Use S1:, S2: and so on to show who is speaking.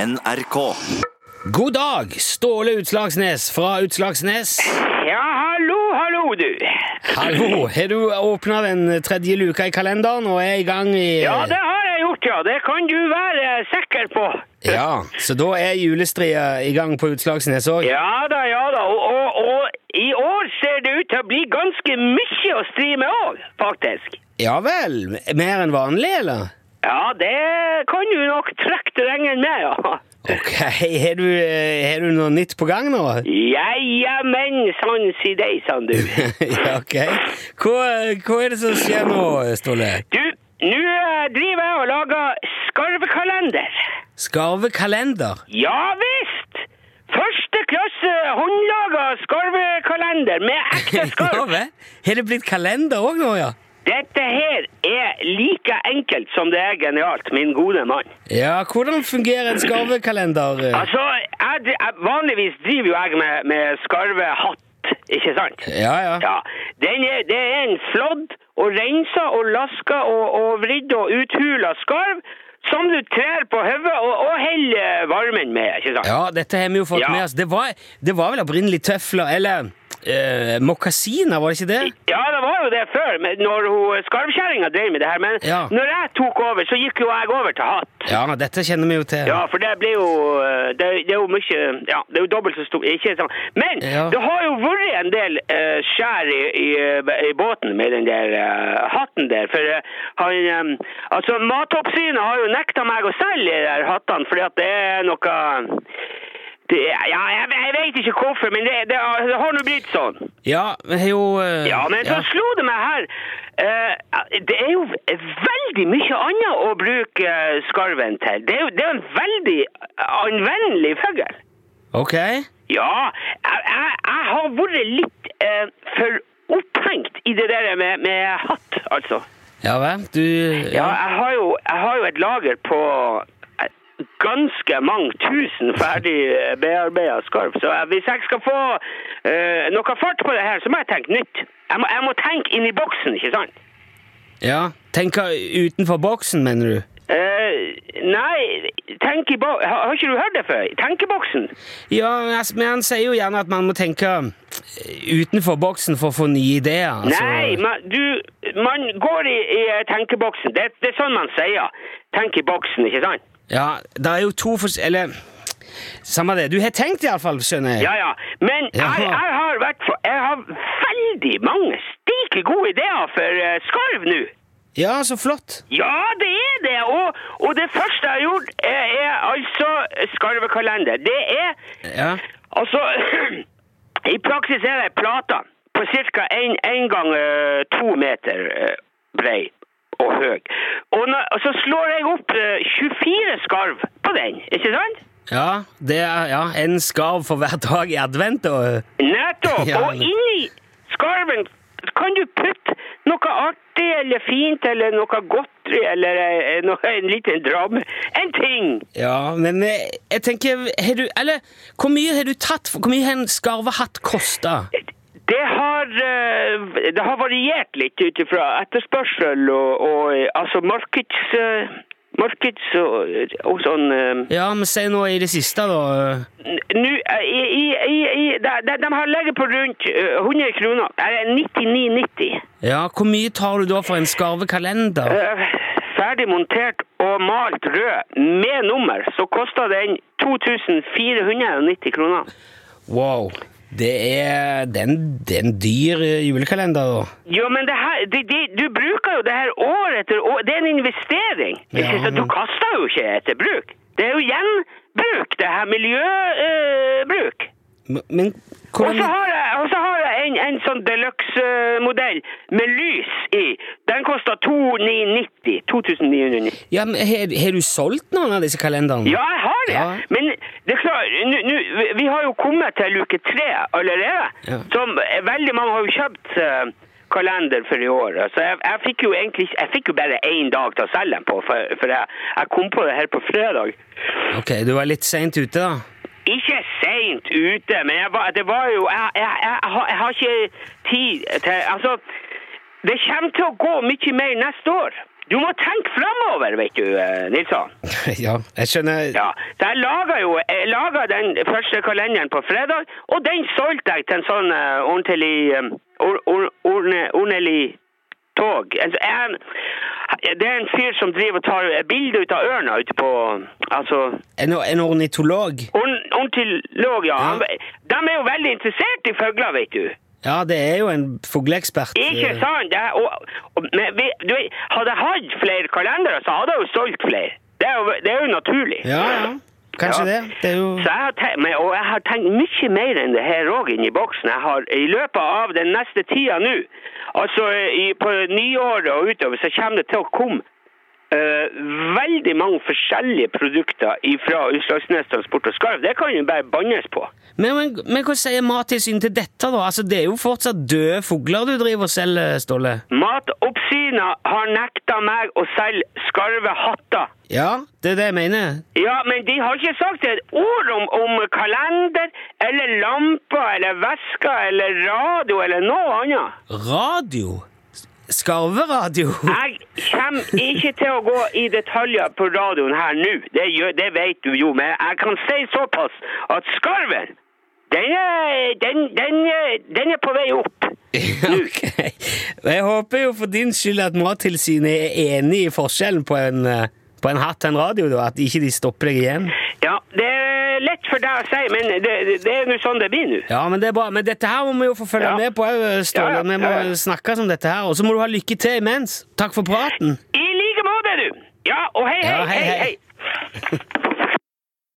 S1: NRK.
S2: God dag, Ståle Utslagsnes fra Utslagsnes.
S3: Ja, hallo, hallo, du.
S2: Hallo, har du åpna den tredje luka i kalenderen og er i gang i
S3: Ja, det har jeg gjort, ja. Det kan du være sikker på.
S2: Ja, så da er julestria i gang på Utslagsnes òg.
S3: Ja da, ja da. Og, og, og i år ser det ut til å bli ganske mye å stri med òg, faktisk.
S2: Ja vel, mer enn vanlig, eller?
S3: Ja, det kan du nok trekke terrengen med, ja.
S2: Ok, har du, eh, har du noe nytt på gang nå?
S3: Jajamän, sann si deg, sann du.
S2: ja, ok. Hva, hva er det som skjer nå, Ståle?
S3: Du, nå eh, driver jeg og lager skarvekalender.
S2: Skarvekalender?
S3: Ja visst! Første klasse håndlaga skarvekalender med ekte
S2: Ja
S3: skarv.
S2: vel. Har det blitt kalender òg nå, ja?
S3: Dette her er like enkelt som det er genialt, min gode mann.
S2: Ja, hvordan fungerer en skarvekalender? eh?
S3: Altså, jeg, dri- jeg, vanligvis driver jo jeg med, med skarvehatt, ikke sant?
S2: Ja, ja.
S3: Ja, den er, det er en flådd og rensa og laska og, og vridd og uthula skarv som du trer på hodet og, og holder varmen med, ikke sant?
S2: Ja, dette har vi jo fått
S3: Ja.
S2: med oss. Det var, det var vel opprinnelig tøfler, eller eh, mokkasiner, var det ikke det?
S3: Ja, det var jo det før, men når hun skarvkjerringa drev med det her. Men
S2: Ja.
S3: når jeg tok over, så gikk jo jeg over til hatt.
S2: Ja, dette kjenner vi jo til.
S3: Ja, for det blir jo eh, Det, det er jo mye Ja, det er jo dobbelt så stor ikke sånn. Men
S2: Ja.
S3: det har jo vært en del eh, skjær i, i, eh, i båten med den der eh, hatten der. For eh, han eh, Altså, Matoppsynet har jo nekta meg å selge de der hattene fordi at det er noe det, ja, jeg, jeg vet ikke hvorfor, men det, det, har- det har nå blitt sånn.
S2: Ja, vi har jo eh,
S3: Ja, men så
S2: ja.
S3: slo det meg her eh, Det er jo veldig mye annet å bruke eh, skarven til. Det er jo det er jo en veldig anvendelig fugl.
S2: Ok.
S3: Ja, jeg, jeg, jeg har vært litt eh, for opphengt i det der med, med hatt, altså.
S2: Ja vel, du
S3: Ja, jeg har jo, jeg har jo et lager på eh, ganske mange tusen ferdig eh, bearbeidet skarv. Så eh, hvis jeg skal få eh, noe fart på det her, så må jeg tenke nytt. Jeg må, jeg må tenke inn i boksen, ikke sant?
S2: ja. Tenker utenfor boksen, mener du?
S3: Eh, nei, tenkeboksen har, har ikke du hørt det før? Tenkeboksen?
S2: Ja, altså, men han sier jo gjerne at man må tenke eh, utenfor boksen for å få nye ideer. Altså.
S3: Nei, man, du, man går i, i eh, tenkeboksen. Det, det er sånn man sier. Tenkeboksen, ikke sant?
S2: Ja, det er jo to fors... Eller samme det. Du har tenkt iallfall, skjønner jeg.
S3: Ja, ja. Men
S2: Ja.
S3: Jeg, jeg har vært for, Jeg har veldig mange stike gode ideer for eh, skarv nå.
S2: ja så flott.
S3: Ja, det er det! Og, og det første jeg har gjort, er, er altså skarvekalender. Det er
S2: Ja.
S3: Altså, i praksis er det plata på ca. 1 gang eh, to meter eh, brei og høy. Og, nå- og så slår jeg opp eh, 24 skarv på den, ikke sant?
S2: Ja, det er ja, en skarv for hver dag i advent. Og,
S3: Nettopp!
S2: Ja.
S3: Og inni skarven kan du putte noe artig eller fint eller noe godteri eller eh, noe, en liten dram. En ting!
S2: ja, men eh, jeg tenker har du, Eller hvor mye har du tatt? for- Hvor mye har en skarvehatt kosta?
S3: Det har, eh, det har variert litt ut ifra etterspørsel og, og eh, altså markeds... eh, Markeds og, og sånn eh,
S2: Ja, men si nå i det siste, da.
S3: Nå eh, i, i, i, i- de, de, de har ligget på rundt eh, 100 kroner. Eller 99,90.
S2: Ja, Hvor mye tar du da for en skarvekalender?
S3: Eh, Ferdig montert og malt rød med nummer, så koster den 2490 kroner.
S2: Wow. Det er, det er en- det er en dyr eh, julekalender, da.
S3: Jo, men det her, de, de, du bruker jo det her år etter år. Det er en investering. Ikke
S2: Ja,
S3: sant? Du
S2: men-
S3: kaster jo ikke etter bruk. Det er jo gjenbruk, det her miljøbruk.
S2: Men, men
S3: og så
S2: hvordan
S3: har jeg, og så har jeg en, en sånn deluxe-modell med lys i. Den koster 2990. 2990.
S2: ja, men Har har du solgt noen av disse kalenderne?
S3: Ja, jeg har det.
S2: Mm. Ja.
S3: Men det er klart, nu, nu, vi- vi har jo kommet til luke tre allerede.
S2: Ja.
S3: Som eh, veldig mange har jo kjøpt eh, kalender for i år. Så jeg, jeg fikk jo egentlig jeg fikk jo bare én dag til å selge den på, for, for jeg, jeg kom på det her på fredag.
S2: Ok, Du var litt seint ute, da.
S3: Ikke seint ute, men jeg var, det var jo jeg, jeg, jeg, jeg, har, jeg har ikke tid til Altså, det kommer til å gå mye mer neste år. Du må tenke framover, vet du, eh, Nilsson.
S2: ja, jeg skjønner.
S3: Ja, så jeg laga jo jeg laget den første kalenderen på fredag, og den solgte jeg til en sånn eh, ordentlig eh, or, or, orne- ordentlig tog. Altså, jeg, det er en fyr som driver og tar bilder ut av ørna ute på Altså
S2: En, en ornitolog?
S3: orn- Ornitolog, ja. Han, de er jo veldig interessert i fugler, vet du.
S2: Ja, det er jo en fugleekspert.
S3: Ikke
S2: eh,
S3: sant? Det, er- og, og, men vi, du, vet, hadde jeg hatt flere kalendere, så hadde jeg jo solgt flere. Det er jo, det er jo naturlig.
S2: Ja, ja. Kanskje
S3: Ja.
S2: det. Det er jo
S3: Så jeg har tenkt, men, og jeg har tenkt mye mer enn det her òg inni boksen. Jeg har, I løpet av den neste tida nå, altså i, på nyåret og utover, så kommer det til å komme eh, veldig mange forskjellige produkter fra Utslagsnes Transport og Skarv. Det kan jo bare bannes på.
S2: Men, men, men hva sier Mattilsynet til dette, da? Altså, Det er jo fortsatt døde fugler du driver og selger, Ståle.
S3: Matoppsynet har nekta meg å selge skarve hatter.
S2: Ja, det er det jeg mener.
S3: Ja, men de har ikke sagt et ord om, om kalender eller lamper eller vesker eller radio eller noe annet.
S2: Radio? Skarveradio?
S3: Jeg kommer ikke til å gå i detaljer på radioen her nå, det, gjør, det vet du jo, men jeg kan si såpass at skarven, den er, den, den er, den er på vei opp.
S2: ok. Jeg håper jo for din skyld at Mattilsynet er enig i forskjellen på en, eh, på en hatt og en radio, da. At ikke de stopper deg igjen.
S3: Ja, det er lett for deg å si, men det, det- det er nå sånn det blir nå.
S2: Ja, men det er bra. Men dette her må vi jo få følge
S3: Ja.
S2: med på, eh, Ståle.
S3: Ja, ja,
S2: Vi må
S3: ja, ja.
S2: snakkes om dette her. Og så må du ha lykke til imens. Takk for praten.
S3: I like måte, du! Ja, og hei, hei,
S2: Ja, hei,
S3: hei,
S2: hei.
S3: hei.